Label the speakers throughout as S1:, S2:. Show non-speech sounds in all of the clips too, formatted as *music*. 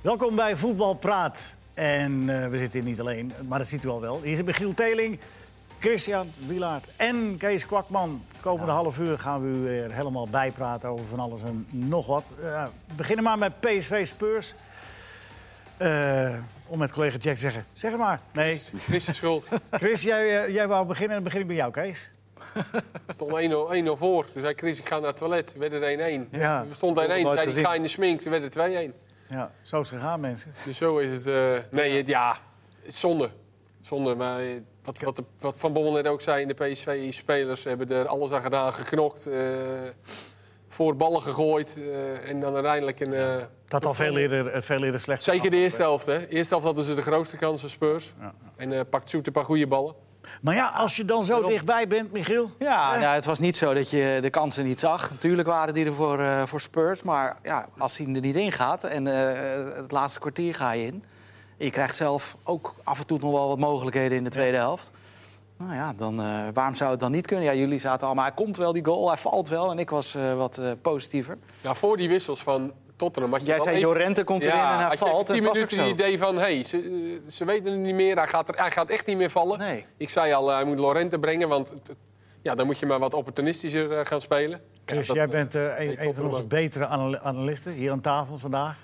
S1: Welkom bij Voetbal Praat. En eh, we zitten hier niet alleen, maar dat ziet u al wel. Hier zitten Michiel Teling, Christian Wielaert en Kees Kwakman. Komende half uur gaan we u weer helemaal bijpraten over van alles en nog wat. Eh, we beginnen maar met PSV Spurs. Eh, om met collega Jack te zeggen, zeg het maar. Nee,
S2: Chris is schuld. Het
S1: Chris, jij, eh, jij wou beginnen en dan begin ik bij jou, Kees.
S2: stond 1-0 1-0 voor. Toen zei Chris, ik ga naar het toilet. Werd het 1-1.
S1: Ja.
S2: We stond 1-1.
S1: Nooit
S2: Toen zei hij,
S1: gezien.
S2: ik ga in de smink. Toen werd het 2-1.
S1: Ja, zo is het gegaan, mensen.
S2: Dus zo is het... eh, nee, het- ja. het is Zonde. Zonde. Maar eh, wat, wat, de- wat Van Bommel net ook zei in de PSV-spelers... hebben er alles aan gedaan. Geknokt. eh, voor ballen gegooid. eh, en dan uiteindelijk een... eh,
S1: Dat al veel eerder, eh, veel eerder slecht.
S2: zeker de eerste helft, hè. Eerste helft hadden ze de grootste kans van Spurs. En eh, pakt Zoet een paar goede ballen.
S1: Maar ja, als je dan zo dichtbij bent, Michiel.
S3: Ja, nou, het was niet zo dat je de kansen niet zag. Natuurlijk waren die er voor, eh, voor Spurs. Maar ja, als hij er niet in gaat en eh, het laatste kwartier ga je in... en je krijgt zelf ook af en toe nog wel wat mogelijkheden in de tweede helft... Nou ja, dan, eh, waarom zou het dan niet kunnen? Ja, jullie zaten allemaal, hij komt wel die goal, hij valt wel. En ik was eh, wat eh, positiever.
S2: Ja, voor die wissels van Tottenham... Had je
S3: Jij
S2: wel
S3: zei,
S2: even-
S3: Jorente komt erin en hij
S2: had je even
S3: valt. En
S2: 10
S3: het was ook
S2: minuten het
S3: zo.
S2: idee van, hey, ze, eh, ze weten het niet meer. Hij gaat, er, hij gaat echt niet meer vallen.
S3: Nee.
S2: Ik zei al, eh, hij moet Lorente brengen, want het- het- ja, dan moet je maar wat opportunistischer eh, gaan spelen.
S1: Chris,
S2: ja, dat,
S1: jij
S2: eh,
S1: bent eh, een- een,
S2: Tottenham
S1: van onze
S2: ook.
S1: betere anal- analisten hier aan tafel vandaag.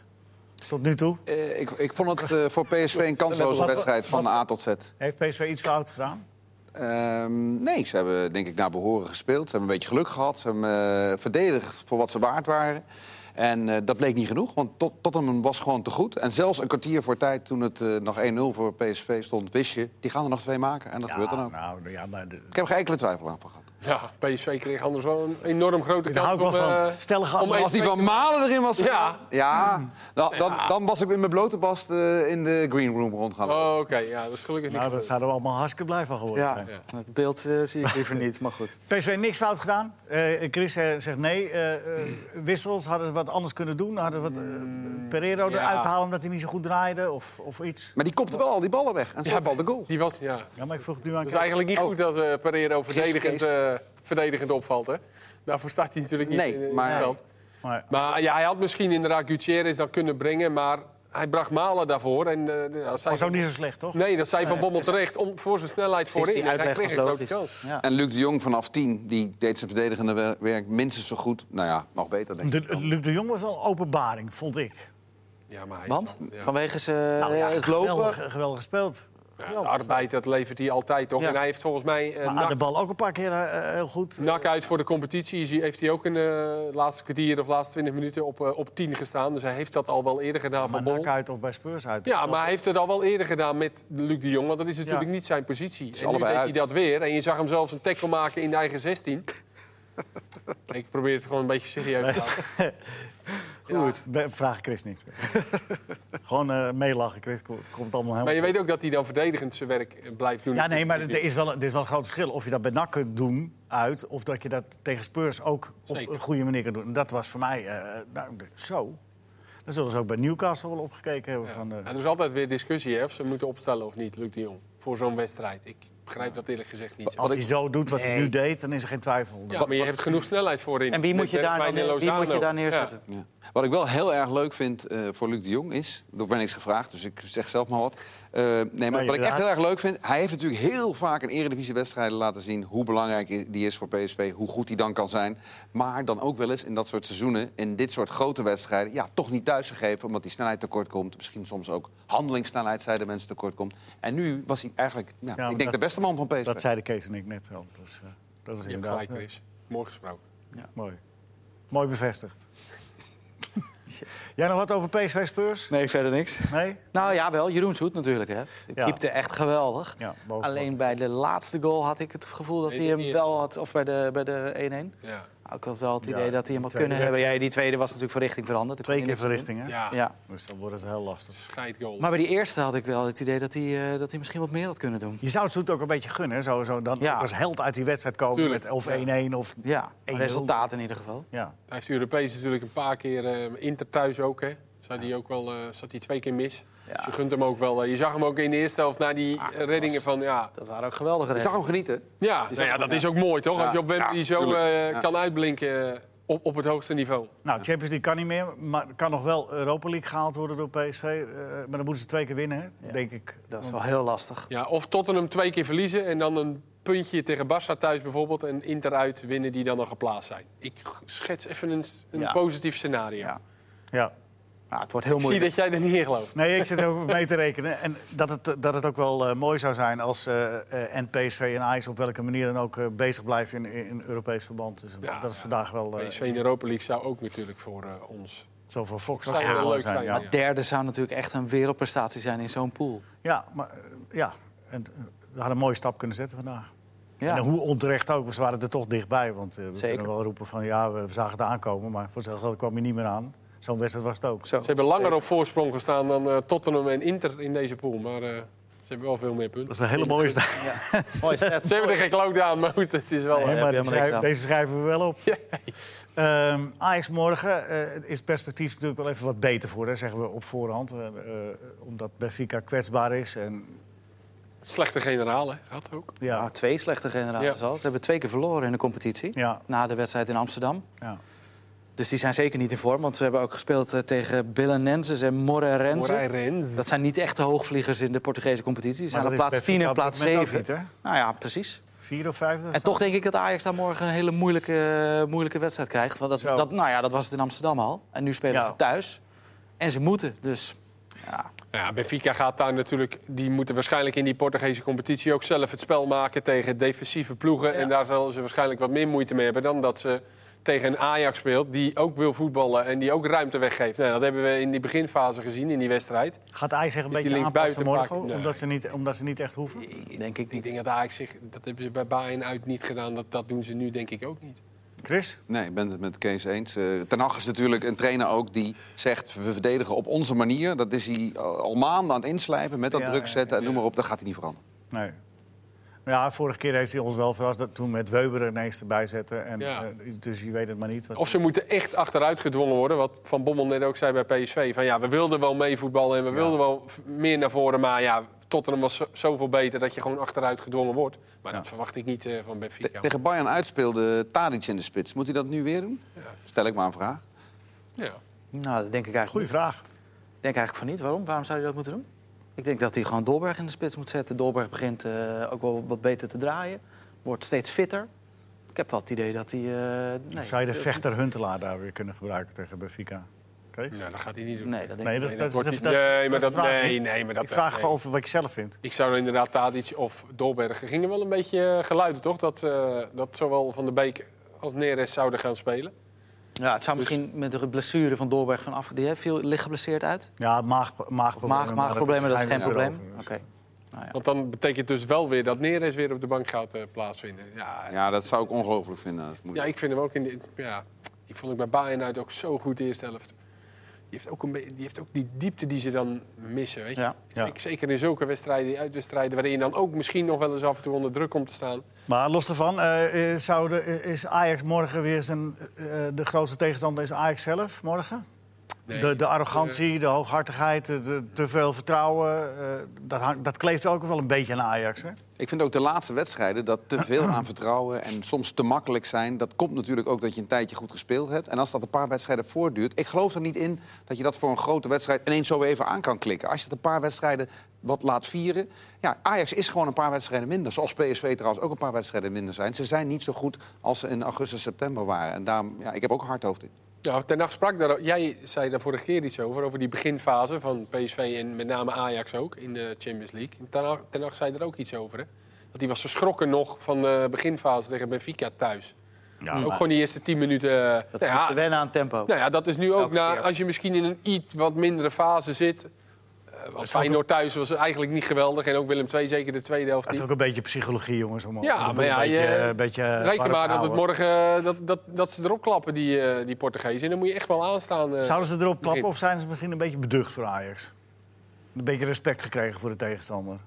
S1: Tot nu toe.
S4: Eh, ik, ik vond het eh, voor PSV een kansloze
S1: Wat-
S4: wedstrijd van
S1: wat-
S4: A tot Z.
S1: Heeft PSV iets fout gedaan?
S4: Ehm, nee, ze hebben denk ik naar behoren gespeeld. Ze hebben een beetje geluk gehad. Ze hebben eh, verdedigd voor wat ze waard waren. En eh, dat bleek niet genoeg, want tot, Tottenham was gewoon te goed. En zelfs een kwartier voor tijd, toen het eh, nog 1-0 voor PSV stond, wist je... die gaan er nog twee maken, en dat gebeurt dan ook.
S1: Nou, ja, maar de-
S4: Ik heb geen enkele twijfel aan gehad.
S2: Ja, PSV kreeg anders wel een enorm grote
S1: Daar hou
S2: kans
S1: ik wel van.
S2: eh,
S1: Stellige
S2: om
S1: analyse.
S4: Als die van Malen erin was
S2: Ja.
S4: gegaan,
S2: *laughs*
S4: ja, dan, dan, dan was ik in mijn blote bast eh, in de green room rond gaan lopen.
S2: Oh, oké. Ja, dat is gelukkig niet
S1: nou, daar
S2: gebeurd.
S1: zouden we allemaal hartstikke blij van geworden
S3: Ja,
S1: zijn.
S3: het beeld eh, zie ik liever niet, maar goed.
S1: PSV niks fout gedaan. Eh, Chris eh, zegt nee. Eh, eh, wissels hadden ze wat anders kunnen doen. Hadden ze wat eh, Pereiro
S2: Mm, ja.
S1: eruit halen omdat hij niet zo goed draaide of, of iets.
S4: Maar die kopte wel al die ballen weg, en zo valt de goal.
S2: Die was, ja.
S1: Ja, maar ik vroeg het nu aan
S2: Het
S1: Kees.
S2: is eigenlijk
S4: Oh.
S2: niet goed dat eh Pereiro verdedigend,
S4: Kees.
S2: eh, verdedigend opvalt, hè? Daarvoor staat hij natuurlijk niet
S4: Nee,
S2: in, in
S4: maar-
S2: het veld.
S1: Maar,
S2: Maar ja, hij had misschien inderdaad Gutierrez dan kunnen brengen, maar hij bracht Malen daarvoor. En, eh, ja, dat zei
S1: was ook niet zo slecht, toch?
S2: Nee, dat zei Van Bommel terecht om, voor zijn snelheid
S3: Is
S2: voorin.
S3: die
S2: En hij
S3: uitleg
S2: kreeg
S3: was
S2: een grote
S3: logisch.
S2: kans.
S3: Ja.
S4: En Luc de Jong vanaf 10, die deed zijn verdedigende wer- werk minstens zo goed. Nou ja, nog beter denk ik.
S1: De, Luc de Jong was wel een openbaring, vond ik.
S2: Eh, Ja, maar hij-
S3: Want?
S2: Ja.
S3: Vanwege ze, eh,
S1: Nou ja,
S3: het lopen?
S1: Geweldig, geweldig gespeeld.
S2: Ja, de
S1: Geweldig
S2: arbeid, dat levert hij altijd, toch?
S3: Ja.
S2: En hij heeft volgens mij eh
S1: Maar aan de
S2: nak,
S1: bal ook een paar keer eh, heel goed.
S2: nak uit voor de competitie. Is hij- Heeft hij ook in de laatste kwartier of laatste 20 minuten op, eh, op 10 gestaan. Dus hij heeft dat al wel eerder gedaan
S1: Maar
S2: van
S1: nak
S2: Bommel.
S1: uit of bij Speurs uit.
S2: Ja, maar hij heeft het al wel eerder gedaan met Luc de Jong. Want dat is natuurlijk
S1: Ja.
S2: niet zijn positie. En nu
S4: allebei
S2: deed hij
S4: uit.
S2: dat weer. En je zag hem zelfs een tackle maken in de eigen *laughs* 16. Ik probeer het gewoon een beetje serieus te houden. *laughs*
S1: Goed. Daar Vraag ik Chris niks. meer. *laughs* Gewoon eh, meelachen, Chris. Ko- Komt allemaal
S2: Maar
S1: helemaal...
S2: je weet ook dat hij dan verdedigend zijn werk eh, blijft doen.
S1: Ja, nee, maar er is, wel, een- er is wel een groot verschil. Of je dat bij NAC kunt doen uit... of dat je dat tegen Spurs ook op
S2: Zeker.
S1: een goede manier kunt doen. En dat was voor mij eh, nou, de- zo. Dan zullen ze ook bij Newcastle wel opgekeken hebben. Van, eh,
S2: Ja, er is altijd weer discussie hè, of ze moeten opstellen of niet, Luc de Jong. Voor zo'n wedstrijd. Ik begrijp dat eerlijk gezegd niet.
S1: als hij zo doet wat hij nu deed, dan is er geen twijfel.
S2: Ja, maar je hebt genoeg snelheid voorin.
S3: En wie moet, je
S2: Met
S3: daar, dan,
S2: Bergwijn en
S3: neer- wie moet je
S2: Lozano.
S3: daar neerzetten?
S2: Ja.
S4: Ja. Wat ik wel heel erg leuk vind eh, voor Luc de Jong is... Daar ben niks gevraagd, dus ik zeg zelf maar wat. Eh, nee,
S1: Nee,
S4: maar wat ik echt
S1: inderdaad.
S4: heel erg leuk vind... Hij heeft natuurlijk heel vaak in eredivisiewedstrijden laten zien... hoe belangrijk i- die is voor PSV, hoe goed die dan kan zijn. Maar dan ook wel eens in dat soort seizoenen... in dit soort grote wedstrijden, ja, toch niet thuisgegeven... omdat die snelheid tekort komt. Misschien soms ook handelingssnelheid, zeiden mensen, tekort komt. En nu was hij eigenlijk, ja,
S1: maar
S4: ik denk,
S1: dat-
S4: de beste man van PSV.
S1: Dat zeiden Kees en ik net al. Dus, eh, dat is
S2: Je hebt
S1: inderdaad
S2: gelijk,
S1: eh,
S2: Chris. Mooi gesproken.
S1: mooi. Mooi bevestigd. Jij nog wat over PSV
S3: *laughs*
S1: Spurs?
S3: Nee, verder niks.
S1: Nee?
S3: Nou ja, wel. Jeroen Zoet natuurlijk, hè.
S1: Ja.
S3: Keepte echt geweldig.
S1: Ja, boven.
S3: Alleen bij de laatste goal had ik het gevoel dat
S2: Nee,
S3: hij
S2: de
S3: hem
S2: eerste.
S3: wel had... Of bij de, bij de 1-1.
S2: Ja.
S3: Nou, Ik had wel het
S1: Ja,
S3: idee dat hij hem had
S1: die
S3: kunnen
S1: tweede
S3: hebben. Ja, die tweede was natuurlijk van richting veranderd. Daar
S1: Twee
S3: kon je
S1: keer
S3: niks
S1: verrichting, hè?
S2: Ja,
S3: aan doen. Ja.
S1: Dus dan wordt het heel lastig.
S2: scheidgoal.
S3: Maar bij die eerste had ik wel het idee dat hij, eh, dat hij misschien wat meer had kunnen doen.
S1: Je zou het zoet ook een beetje gunnen, hè? Zo, zo, dan
S3: Ja.
S1: ook als held uit die wedstrijd komen.
S2: Tuurlijk,
S1: Met of
S2: ja.
S1: 1-1 of...
S3: Ja,
S1: 1-0.
S3: resultaat in ieder geval.
S1: Ja.
S2: Hij heeft Europees natuurlijk een paar keer eh, Inter thuis ook. Hè. Zat hij ook wel, eh, zat hij twee keer mis. Dus je gunt hem ook wel. eh, je zag hem ook in de eerste helft na die eh, reddingen van... Ja,
S3: Dat waren ook geweldige
S4: Je zag
S3: redden.
S4: hem genieten.
S2: ja, nou ja dat is ook mooi toch? Als je op Wembley
S4: ja,
S2: zo
S4: tuurlijk.
S2: eh,
S4: Ja.
S2: kan uitblinken eh, op, op het hoogste niveau.
S1: Nou, Champions League kan niet meer, maar kan nog wel Europa League gehaald worden door PSV. eh, maar dan moeten ze twee keer winnen, hè, denk ik.
S3: Dat is wel heel lastig.
S2: Ja, of Tottenham twee keer verliezen en dan een puntje tegen Barça thuis bijvoorbeeld... en Inter uit winnen die dan al geplaatst zijn. Ik schets even een, s- een
S3: Ja.
S2: positief scenario.
S3: Ja.
S1: Ja.
S3: Nou, het wordt heel
S2: Ik zie
S3: moeilijk.
S2: dat jij er niet in gelooft.
S1: Nee, ik zit er ook *laughs* over mee te rekenen. En dat het, dat het ook wel eh, mooi zou zijn als eh, eh, en PSV en Ajax op welke manier dan ook eh, bezig blijft in, in, in Europees verband. Dus
S2: Ja,
S1: dat is
S2: ja.
S1: vandaag wel eh,
S2: PSV in de Europa League zou ook natuurlijk voor eh, ons...
S1: zo voor Fox
S2: Zou
S1: wel
S2: wel
S1: mooi
S2: leuk zijn, ja.
S1: Ja,
S3: Maar derde zou natuurlijk echt een wereldprestatie zijn in zo'n pool.
S1: Ja, maar eh, ja, en, eh, we hadden een mooie stap kunnen zetten vandaag.
S3: Ja.
S1: En hoe onterecht ook, maar ze waren er toch dichtbij. Want eh, we
S3: Zeker.
S1: kunnen wel roepen van ja, we zagen het aankomen, maar voor zo'n geld kwam je niet meer aan. Zo'n wedstrijd was het ook.
S3: Zo.
S2: Ze hebben langer op voorsprong gestaan dan eh, Tottenham en Inter in deze pool. Maar eh, ze hebben wel veel meer punten.
S1: Dat is een hele mooie
S3: *laughs*
S1: stap.
S5: Mooi stat.
S2: Ze hebben er geen kloot aan, maar goed, het is wel... eh,
S1: Nee, maar
S3: heb
S1: die
S3: je helemaal niks
S1: schrijf-
S3: aan.
S1: deze schrijven we wel
S3: *laughs*
S1: op. Ehm, Ajax morgen eh, is het perspectief natuurlijk wel even wat beter voor, hè, zeggen we op voorhand. Eh, eh, omdat Benfica kwetsbaar is. En,
S2: Slechte generaal, hè? Had ook.
S1: ja,
S3: Ah, twee slechte generalen
S2: Ja.
S3: al. Ze hebben twee keer verloren in de competitie.
S1: ja,
S3: Na de wedstrijd in Amsterdam.
S1: ja.
S3: Dus die zijn zeker niet in vorm. Want ze hebben ook gespeeld eh, tegen Billenenses en Moreirense. Dat zijn niet echte hoogvliegers in de Portugese competitie. Ze zijn
S1: Maar
S3: op
S1: dat
S3: plaats
S1: is
S3: 10
S1: Benfica
S3: en
S1: op
S3: plaats
S1: dit moment
S3: 7.
S1: ook niet, hè?
S3: Nou ja, precies.
S1: Vier of vijf. dat
S3: En toch denk ik dat Ajax daar morgen een hele moeilijke, eh, moeilijke wedstrijd krijgt. Want dat,
S1: Zo.
S3: dat, nou ja, dat was het in Amsterdam al. En nu spelen
S1: Ja.
S3: ze thuis. En ze moeten. Dus ja,
S2: Ja, Benfica gaat daar natuurlijk... Die moeten waarschijnlijk in die Portugese competitie ook zelf het spel maken tegen defensieve ploegen. En daar zullen ze waarschijnlijk wat meer moeite mee hebben dan dat ze tegen een Ajax speelt... die ook wil voetballen en die ook ruimte weggeeft. Nou, dat hebben we in die beginfase gezien in die wedstrijd.
S1: Gaat Ajax zich een
S2: Die
S1: beetje
S2: linksbuiten
S1: aanpassen morgen?
S2: pakken? Nee.
S1: Omdat, ze niet, omdat ze niet echt hoeven?
S3: denk ik
S2: Ik
S3: niet.
S2: denk dat Ajax zich... Dat hebben ze bij Bayern uit niet gedaan. Dat, dat doen ze nu denk ik ook niet.
S1: Chris?
S4: Nee, ik ben het met Kees eens. Eh, Ten Hag is natuurlijk een trainer ook die zegt... we verdedigen op onze manier. Dat is hij al al maanden aan het inslijpen met dat
S1: Ja,
S4: druk
S1: ja,
S4: zetten. En noem maar op, dat gaat hij niet veranderen.
S1: Nee. Maar Ja, vorige keer heeft hij ons wel verrast dat toen met Weber ineens erbij zetten. En,
S2: Ja.
S1: eh, dus je weet het maar niet. wat-
S2: Of ze moeten echt achteruit gedwongen worden. Wat Van Bommel net ook zei bij PSV. Van ja, we wilden wel mee voetballen en we wilden wel v- meer naar voren. Maar ja, Tottenham was zo- zoveel beter dat je gewoon achteruit gedwongen wordt. Maar dat verwacht ik niet eh, van
S4: Te-
S2: Benfica.
S4: Tegen Bayern uitspeelde Tadic in de spits. Moet hij dat nu weer doen? Stel ik maar een vraag.
S2: Ja.
S3: Nou, dat denk ik eigenlijk
S1: Goeie
S3: niet.
S1: vraag.
S3: Ik denk eigenlijk van niet. Waarom? Waarom zou hij dat moeten doen? Ik denk dat hij gewoon Dolberg in de spits moet zetten. Dolberg begint eh, ook wel wat beter te draaien. Wordt steeds fitter. Ik heb wel het idee dat hij... eh, nee.
S1: Of zou je de vechter Huntelaar daar weer kunnen gebruiken tegen Benfica? Kees?
S2: Nou, dat gaat hij niet doen.
S3: Nee, dat denk
S1: Nee,
S3: ik
S1: dat,
S2: Nee,
S1: dat
S2: dat wordt
S1: is
S2: niet-
S1: dat-
S2: nee, maar
S1: is de
S2: dat-
S1: vraag,
S2: nee,
S1: hè?
S2: nee, maar dat-
S1: Ik vraag
S2: nee.
S1: gewoon over wat ik zelf vind.
S2: Ik zou dan inderdaad Tadic of Dolberg. Er gingen wel een beetje eh, geluiden, toch? Dat, eh, dat zowel Van der Beek als Neres zouden gaan spelen.
S3: Ja, het zou
S1: Dus-
S3: misschien met de blessure van Dolberg van af... Die hè, viel, ligt geblesseerd uit.
S1: Ja, maag, maagproblemen.
S3: Maag,
S1: maar
S3: maagproblemen, dat is geen
S1: schijnbaar
S3: probleem.
S1: erover. dus.
S3: Oké. Nou ja.
S2: Want dan betekent dus wel weer dat Neres weer op de bank gaat eh, plaatsvinden. Ja,
S4: Ja, dat zou ik ongelooflijk vinden. Dat is
S2: Ja,
S4: moeilijk.
S2: ik vind hem ook in de, ja, die vond ik bij Bayern uit ook zo goed de eerste helft. Die heeft ook, een be- die, heeft ook die diepte die ze dan missen, weet je.
S3: Ja.
S1: Ja.
S2: Zeker, zeker in zulke wedstrijden, die uitwedstrijden, waarin je dan ook misschien nog wel eens af en toe onder druk komt te staan.
S1: Maar los daarvan, eh, eh, zou de- eh, is Ajax morgen weer zijn... eh, de grootste tegenstander is Ajax zelf morgen?
S2: Nee, eh,
S1: de, de arrogantie, de hooghartigheid, de, de- te veel vertrouwen. eh, dat, hangt- dat kleeft ook wel een beetje aan Ajax, hè?
S4: Ik vind ook de laatste wedstrijden dat te veel aan vertrouwen en soms te makkelijk zijn. Dat komt natuurlijk ook dat je een tijdje goed gespeeld hebt. En als dat een paar wedstrijden voortduurt. Ik geloof er niet in dat je dat voor een grote wedstrijd ineens zo weer even aan kan klikken. Als je het een paar wedstrijden wat laat vieren. Ja, Ajax is gewoon een paar wedstrijden minder. Zoals PSV trouwens ook een paar wedstrijden minder zijn. Ze zijn niet zo goed als ze in augustus, september waren. En daarom, ja, ik heb ook hardhoofd in.
S2: Ja, ten nacht sprak daar, jij zei daar vorige keer iets over, over die beginfase van PSV en met name Ajax ook in de Champions League. En Ten Hag- Ten Hag zei er ook iets over, hè? Dat hij was geschrokken nog van de beginfase tegen Benfica thuis.
S1: Ja,
S2: ook gewoon die eerste tien minuten. eh,
S3: Dat
S2: nou
S3: is
S2: ja,
S3: te wennen aan tempo.
S2: Nou ja, dat is nu ook
S3: Elke
S2: na,
S3: keer.
S2: als je misschien in een iets wat mindere fase zit. eh, Want Feyenoord thuis was eigenlijk niet geweldig. En ook Willem II, zeker de tweede helft
S1: Dat is
S2: niet.
S1: ook een beetje psychologie, jongens. Om,
S2: Ja,
S1: om
S2: maar ja,
S1: een beetje,
S2: je-
S1: eh, een beetje eh,
S2: Reken
S1: warm
S2: maar
S1: te
S2: dat, het
S1: houden.
S2: morgen, eh, dat, dat, dat ze erop klappen, die, eh, die Portugezen. En dan moet je echt wel aanstaan. eh.
S1: Zouden ze erop klappen
S2: begin.
S1: of zijn ze misschien een beetje beducht voor Ajax? Een beetje respect gekregen voor de tegenstander.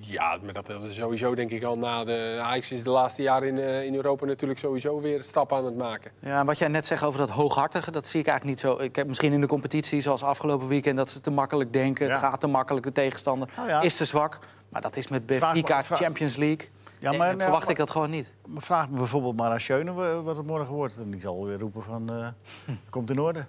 S2: Ja, maar dat is sowieso denk ik al na de... Ajax is de laatste jaren in, eh, in Europa natuurlijk sowieso weer stappen aan het maken.
S3: Ja, en wat jij net zegt over dat hooghartige, dat zie ik eigenlijk niet zo. Ik heb misschien in de competitie, zoals afgelopen weekend, dat ze te makkelijk denken.
S1: Ja.
S3: Het gaat te makkelijk, de tegenstander
S1: Nou ja.
S3: is te zwak. Maar dat is met
S1: Vraag-
S3: Benfica,
S1: vraag-
S3: Champions League.
S1: Ja,
S3: maar,
S1: maar, nou,
S3: verwacht ik dat gewoon niet.
S1: maar vraag me bijvoorbeeld maar aan Schöne wa- wat het morgen wordt. En die zal weer roepen van, eh, *laughs* komt in orde.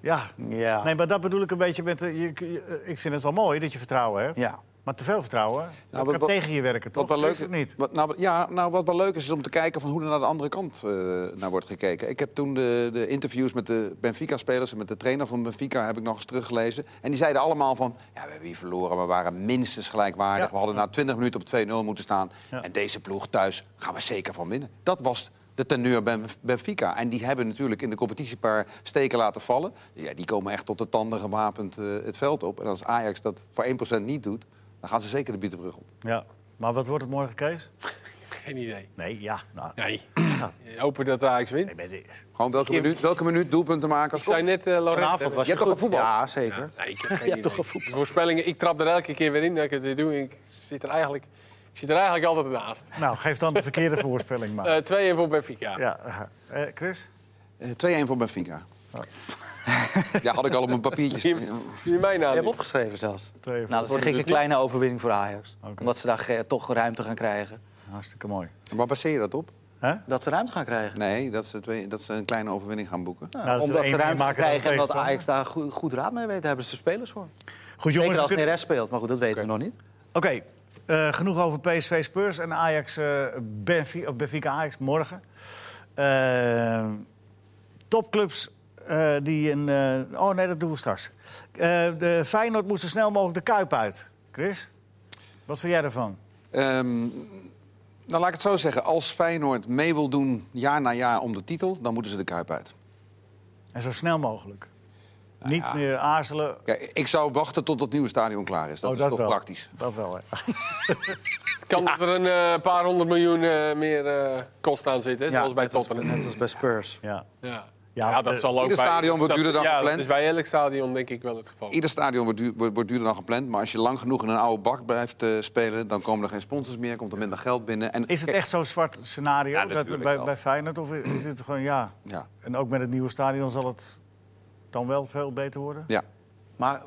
S1: Ja.
S3: Ja.
S1: Nee, maar dat bedoel ik een beetje met... eh, je- je- ik vind het wel mooi dat je vertrouwen hebt.
S3: ja.
S1: Maar te veel vertrouwen, dat
S4: wat-
S1: kan
S4: wat-
S1: tegen je werken, toch?
S4: Wat wel
S1: Is
S4: leuk
S1: het niet?
S4: Wat, nou, ja, nou, wat wel leuk is, is om te kijken van hoe er naar de andere kant eh, naar wordt gekeken. Ik heb toen de, de interviews met de Benfica-spelers en met de trainer van Benfica heb ik nog eens teruggelezen. En die zeiden allemaal van, ja, we hebben hier verloren, we waren minstens gelijkwaardig.
S1: Ja.
S4: We hadden na 20 minuten op 2-0 moeten staan.
S1: Ja.
S4: En deze ploeg thuis gaan we zeker van winnen. Dat was de teneur bij Benfica. En die hebben natuurlijk in de competitie een paar steken laten vallen. Ja, die komen echt tot de tanden gewapend eh, het veld op. En als Ajax dat voor 1% niet doet, dan gaan ze zeker de bietenbrug op.
S1: Ja. Maar wat wordt het morgen, Kees?
S2: Geen idee.
S1: Nee, ja. Nou,
S2: Nee. *clears throat* Hopen dat Ajax wint.
S1: nee, maar die-
S4: Gewoon welke minuut, welke minuut doelpunten maken als
S2: Ik zei net, eh Laurent...
S3: Vanavond was
S4: je
S3: je
S4: hebt
S3: goed.
S4: toch gevoetbald?
S3: Ja, zeker.
S2: Nee, ik heb geen idee. De voorspellingen, ik trap er elke keer weer in dat ik het weer doe. Ik zit er eigenlijk, ik zit er eigenlijk altijd naast.
S1: nou, geef dan de verkeerde voorspelling
S2: *laughs*
S1: maar.
S2: Eh 2-1 voor Benfica.
S1: Ja, eh, Chris?
S4: Eh, 2-1 voor Benfica. *laughs* ja, had ik al op mijn papiertje
S2: Die,
S4: staan.
S2: die mijn naam
S3: Je hebt
S2: niet.
S3: opgeschreven zelfs.
S1: Twee voor-
S3: Nou, dat zeg
S2: Worden
S3: ik
S2: dus
S3: een
S2: niet-
S3: kleine overwinning voor Ajax. Omdat ze daar ge- toch ruimte gaan krijgen.
S1: Hartstikke mooi.
S4: Waar baseer je dat op?
S1: Hè?
S3: Dat ze ruimte gaan krijgen.
S4: Nee, dat ze, twee, dat ze een kleine overwinning gaan boeken.
S3: Ja,
S1: Nou, dat is
S3: omdat
S1: de
S3: ze
S1: één
S3: ruimte
S1: maken dan
S3: krijgen en dat
S1: tegenstander.
S3: Ajax daar goed, goed raad mee weet, daar hebben ze spelers voor.
S1: Goed, jongens.
S3: Zeker als
S1: we kunnen-
S3: Neres speelt, maar goed, dat weten we nog niet.
S1: Oké, eh, genoeg over PSV Spurs en Ajax, eh Benfica, of Benfica Ajax morgen. Eh, topclubs eh, die een... eh, oh nee, dat doen we straks. Eh, de Feyenoord moest zo snel mogelijk de Kuip uit. Chris, wat vind jij daarvan?
S4: Ehm, nou, laat ik het zo zeggen. Als Feyenoord mee wil doen jaar na jaar om de titel... dan moeten ze de Kuip uit.
S1: En zo snel mogelijk. Niet
S4: Nou ja.
S1: meer aarzelen.
S4: Ja, ik zou wachten tot het nieuwe stadion klaar is. Dat
S1: Oh,
S4: is toch
S1: wel.
S4: praktisch.
S1: Dat wel, hè.
S2: Kan dat er een eh, paar honderd miljoen eh, meer eh, kost aan zitten, hè, zoals bij
S3: net als-
S2: Tottenham.
S3: Net als bij Spurs.
S4: *laughs*
S1: Ja.
S2: Ja.
S1: Ja,
S2: Ja,
S1: eh,
S2: dat zal ook
S4: ieder
S2: bij...
S4: stadion wordt
S2: dat-
S4: duurder dan
S2: ja,
S4: gepland.
S2: dat is bij elk stadion denk ik wel het geval.
S4: Ieder stadion wordt, duur, wordt, wordt duurder dan gepland. Maar als je lang genoeg in een oude bak blijft eh, spelen... dan komen er geen sponsors meer, komt er minder geld binnen. En,
S1: Is het
S4: Kijk,
S1: echt zo'n zwart scenario
S4: Ja,
S1: dat,
S4: natuurlijk
S1: bij,
S4: wel.
S1: bij Feyenoord? Of is het gewoon, ja...
S4: Ja,
S1: En ook met het nieuwe stadion zal het dan wel veel beter worden?
S4: ja.
S3: Maar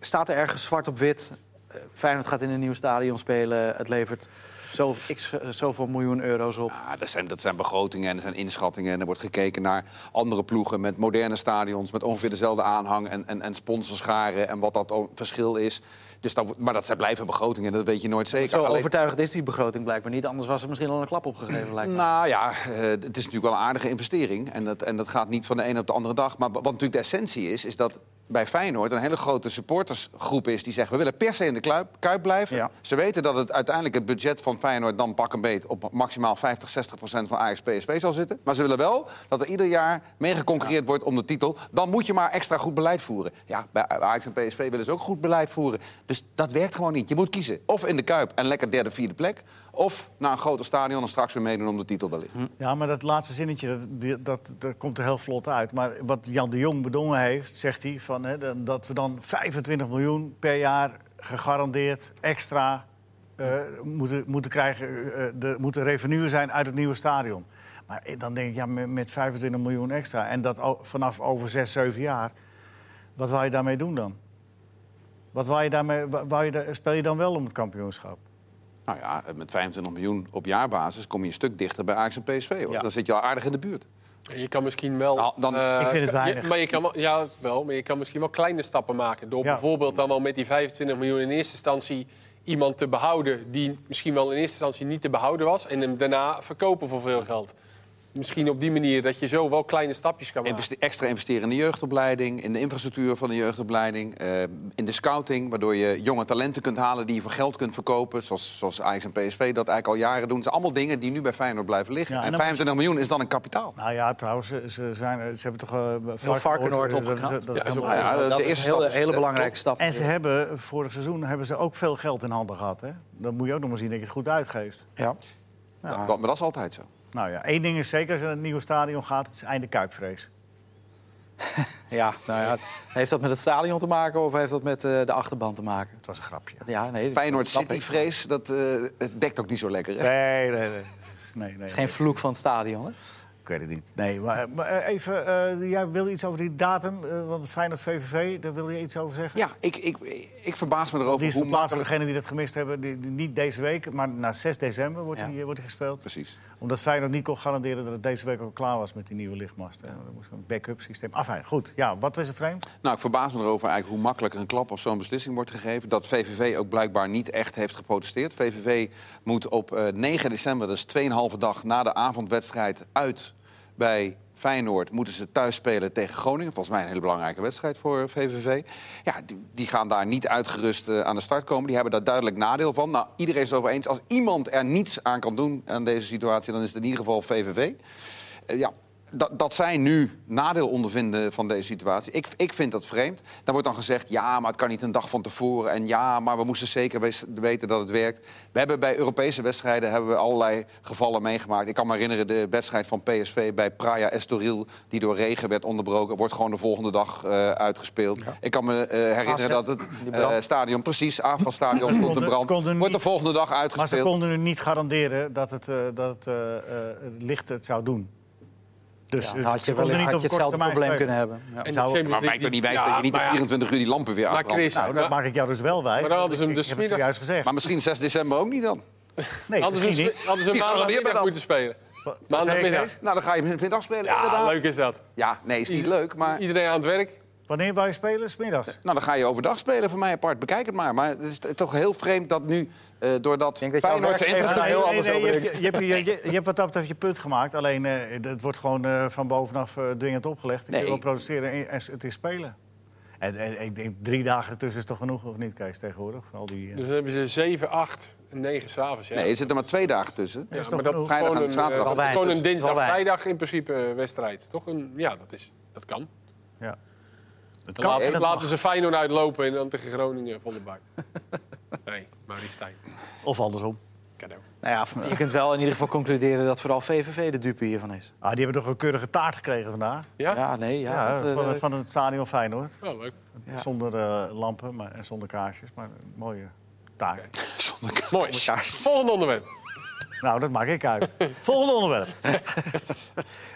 S3: staat er ergens zwart op wit? eh, Feyenoord gaat in een nieuw stadion spelen. Het levert zo, x, eh, zoveel miljoen euro's op.
S4: Ja, Ah, dat zijn, dat zijn begrotingen en dat zijn inschattingen. En er wordt gekeken naar andere ploegen met moderne stadions... met ongeveer dezelfde aanhang en, en, en sponsorscharen en wat dat o- verschil is. Dus dat, wordt- maar dat zijn blijven begrotingen, dat weet je nooit zeker.
S3: Zo
S4: Alleen-
S3: overtuigend is die begroting blijkbaar niet. Anders was er misschien al een klap opgegeven, lijkt me.
S4: nou ja, eh, het is natuurlijk wel een aardige investering. En dat, en dat gaat niet van de ene op de andere dag. Maar wat natuurlijk de essentie is, is dat bij Feyenoord een hele grote supportersgroep is... die zegt, we willen per se in de kluip, Kuip blijven.
S3: Ja.
S4: Ze weten dat het uiteindelijk het budget van Feyenoord dan pak een beet... op maximaal 50, 60 procent van Ajax PSV zal zitten. Maar ze willen wel dat er ieder jaar mee geconcurreerd wordt om de titel. Dan moet je maar extra goed beleid voeren. Ja, bij Ajax en PSV willen ze ook goed beleid voeren. Dus dat werkt gewoon niet. Je moet kiezen. Of in de Kuip en lekker derde, vierde plek. Of naar een groter stadion en straks weer meedoen om de titel wellicht.
S3: Hm.
S1: Ja, maar dat laatste zinnetje, dat, die- dat, dat komt er heel vlot uit. Maar wat Jan de Jong bedongen heeft, zegt hij... Van, hè, dan- dat we dan 25 miljoen per jaar gegarandeerd extra eh, moeten, moeten krijgen... eh, de, moet de revenue zijn uit het nieuwe stadion. Maar eh, dan denk ik, ja, met, met 25 miljoen extra... en dat o- vanaf over 6, 7 jaar, wat wil je daarmee doen dan? Wat wil je daarmee, wa- wou je, daar- speel je dan wel om het kampioenschap?
S4: Nou ja, met 25 miljoen op jaarbasis kom je een stuk dichter bij Ajax en PSV. Hoor.
S3: Ja.
S4: Dan zit je al aardig in de buurt.
S2: Je kan misschien wel.
S4: Nou, dan-
S2: eh,
S1: Ik vind het
S2: je-
S1: weinig.
S2: maar je kan, wel- ja, wel, maar je kan misschien wel kleine stappen maken. Door
S1: Ja.
S2: bijvoorbeeld dan wel met die 25 miljoen in eerste instantie iemand te behouden. die misschien wel in eerste instantie niet te behouden was. en hem daarna verkopen voor veel geld. Misschien op die manier dat je zo wel kleine stapjes kan maken.
S4: Investe- extra investeren in de jeugdopleiding, in de infrastructuur van de jeugdopleiding, eh, in de scouting, waardoor je jonge talenten kunt halen die je voor geld kunt verkopen, zoals, zoals Ajax en PSV dat eigenlijk al jaren doen. Het zijn allemaal dingen die nu bij Feyenoord blijven liggen.
S1: Ja, en
S4: en
S1: dan-
S4: 25 miljoen is dan een kapitaal.
S1: Nou ja, trouwens, ze, ze zijn, ze hebben toch eh,
S3: Varkenoord
S1: Dat is-
S3: opgeknapt.
S1: dat is
S4: Ja,
S1: helemaal-
S4: nou ja, de-
S3: dat
S4: de
S3: is
S4: eerste
S3: een
S4: stap
S3: hele,
S4: is,
S3: hele
S4: eh,
S3: belangrijke
S4: top.
S3: stap.
S1: En ze hebben vorig seizoen hebben ze ook veel geld in handen gehad. Hè? Dan moet je ook nog maar zien dat je het goed uitgeeft.
S3: Ja.
S4: Dat, dat- maar dat is altijd zo.
S1: Nou ja, één ding is zeker als je naar het nieuwe stadion gaat, het is einde kuipvrees.
S3: Ja, nou ja. Heeft dat met het stadion te maken of heeft dat met eh, de achterban te maken?
S1: Het was een grapje.
S3: Ja, nee, dat
S4: Feyenoord
S3: snap ik.
S4: City vrees, dat eh, het dekt ook niet zo lekker. Hè?
S1: Nee, nee, nee. nee, nee.
S3: Het is geen vloek van het stadion. Hè?
S1: Ik weet het niet. Nee, maar, maar eh, even, eh, jij wil iets over die datum, eh, want Feyenoord VVV, daar wil je iets over zeggen?
S4: Ja, ik, ik, ik verbaas me erover
S1: Die is
S4: hoe
S1: verplaatst voor
S4: makkelijk...
S1: degenen die dat gemist hebben. Die, die- niet deze week, maar na 6 december wordt,
S3: Ja.
S1: die, eh, wordt die gespeeld.
S4: Precies.
S1: Omdat Feyenoord niet kon garanderen dat het deze week al klaar was met die nieuwe lichtmast. Ja. Dat moest een backup systeem. Afijn, goed. Ja, wat was het frame?
S4: Nou, ik verbaas me erover eigenlijk hoe makkelijk een klap op zo'n beslissing wordt gegeven. Dat VVV ook blijkbaar niet echt heeft geprotesteerd. VVV moet op eh, 9 december, dat is 2,5 dag na de avondwedstrijd uit bij Feyenoord... moeten ze thuis spelen tegen Groningen. Volgens mij een hele belangrijke wedstrijd voor eh, VVV. Ja, die, die gaan daar niet uitgerust eh, aan de start komen. Die hebben daar duidelijk nadeel van. Nou, iedereen is het over eens. Als iemand er niets aan kan doen aan deze situatie... dan is het in ieder geval VVV. Eh, ja, dat, dat zij nu nadeel ondervinden van deze situatie. Ik, ik vind dat vreemd. Dan wordt dan gezegd, ja, maar het kan niet een dag van tevoren. En ja, maar we moesten zeker wes- weten dat het werkt. We hebben bij Europese wedstrijden hebben we allerlei gevallen meegemaakt. Ik kan me herinneren de wedstrijd van PSV bij Praia Estoril... die door regen werd onderbroken. Wordt gewoon de volgende dag eh, uitgespeeld. Ik kan me eh, herinneren
S3: AZ,
S4: dat het
S3: die brand.
S4: eh, stadion, precies, aanvalstadion stond
S1: konden-
S4: in
S1: ze
S4: brand.
S1: konden
S4: Wordt de
S1: niet-
S4: volgende dag
S1: Maar ze
S4: uitgespeeld.
S1: konden nu niet garanderen dat het, eh, dat het, eh, eh, het licht het zou doen. Dus
S3: Ja,
S1: eh,
S3: dan had
S1: ze
S3: je
S1: konden
S3: wellicht
S1: niet op
S3: had je
S1: korte
S3: hetzelfde
S1: termijn
S3: probleem
S1: spelen.
S3: kunnen hebben. Ja.
S2: En de
S1: zou-
S2: Champions
S4: Maar maakt
S2: League-
S4: toch niet wijs
S2: Ja,
S4: dat je niet op
S2: maar ja,
S4: 24 uur die lampen weer
S2: Maar
S4: aanbrandt.
S2: Chris,
S1: Nou, dat
S2: Maar-
S1: maak ik jou dus wel wijs.
S2: Maar dan hadden ze hem
S1: Ik-
S2: dus
S1: ik heb het
S2: middag-
S1: zojuist gezegd.
S4: Maar misschien 6 december ook niet dan.
S1: Nee,
S2: Hadden
S1: misschien
S2: ze,
S1: niet.
S2: hadden ze
S4: Die garanderen
S2: maandagmiddag
S4: dan.
S2: moeten spelen.
S1: Wat- wat
S2: Maandagmiddag.
S1: zei je, Kees?
S4: Nou, dan ga je hem middag spelen.
S2: Ja,
S4: inderdaad.
S2: leuk is dat.
S4: Ja, nee, is niet
S2: Ieder-
S4: leuk, maar...
S2: Iedereen aan het werk.
S1: Wanneer wou je spelen? Smiddags.
S4: Nou, dan ga je overdag spelen voor mij apart. Bekijk het maar. Maar het is t- toch heel vreemd dat nu, eh doordat
S3: denk dat jouw
S4: Feyenoord zijn
S3: werkgever-
S4: infrastructuur...
S3: daar heel anders
S1: je,
S3: over
S1: hebt, je, hebt, je- je- je hebt wat dat betreft je punt gemaakt. Alleen eh, het wordt gewoon eh, van bovenaf eh, dwingend opgelegd. Ik
S4: Nee.
S1: wil protesteren en, en het is spelen. En, en ik denk drie dagen ertussen is toch genoeg, of niet, Kees, tegenwoordig? Voor Al die, eh,
S2: Dus dan hebben ze 7, 8 en 9 s'avonds. Ja.
S4: Nee, er zitten maar twee dagen tussen.
S1: is
S2: ja,
S1: toch
S2: maar dat
S1: genoeg?
S2: is gewoon
S4: Vrijdag en
S2: een,
S4: zaterdag.
S2: eh, dat is
S3: Wel
S2: gewoon
S3: weinig.
S2: een dinsdag,
S3: Wel weinig.
S2: vrijdag in principe eh, wedstrijd. Toch een, ja, dat, is, dat kan.
S1: ja. Het
S2: Dan laten,
S1: en het
S2: laten
S1: Eh, mag.
S2: ze Feyenoord uitlopen en dan tegen Groningen van de bak. *laughs* nee, Maurice Stijn.
S1: Of andersom.
S2: Cadeau.
S3: Nou ja, je kunt wel in ieder geval concluderen dat vooral VVV de dupe hiervan is.
S1: Ah, die hebben toch een keurige taart gekregen vandaag.
S2: Ja?
S3: Ja, nee, ja.
S1: Ja,
S3: dat, eh,
S1: van, van het stadion Feyenoord.
S2: Oh, leuk.
S3: Ja.
S1: Zonder eh, lampen maar, en zonder kaarsjes. Maar een mooie taart.
S2: Mooi. Volgende onderwerp.
S1: Nou, dat maak ik
S3: *laughs*
S1: uit. Volgende onderwerp.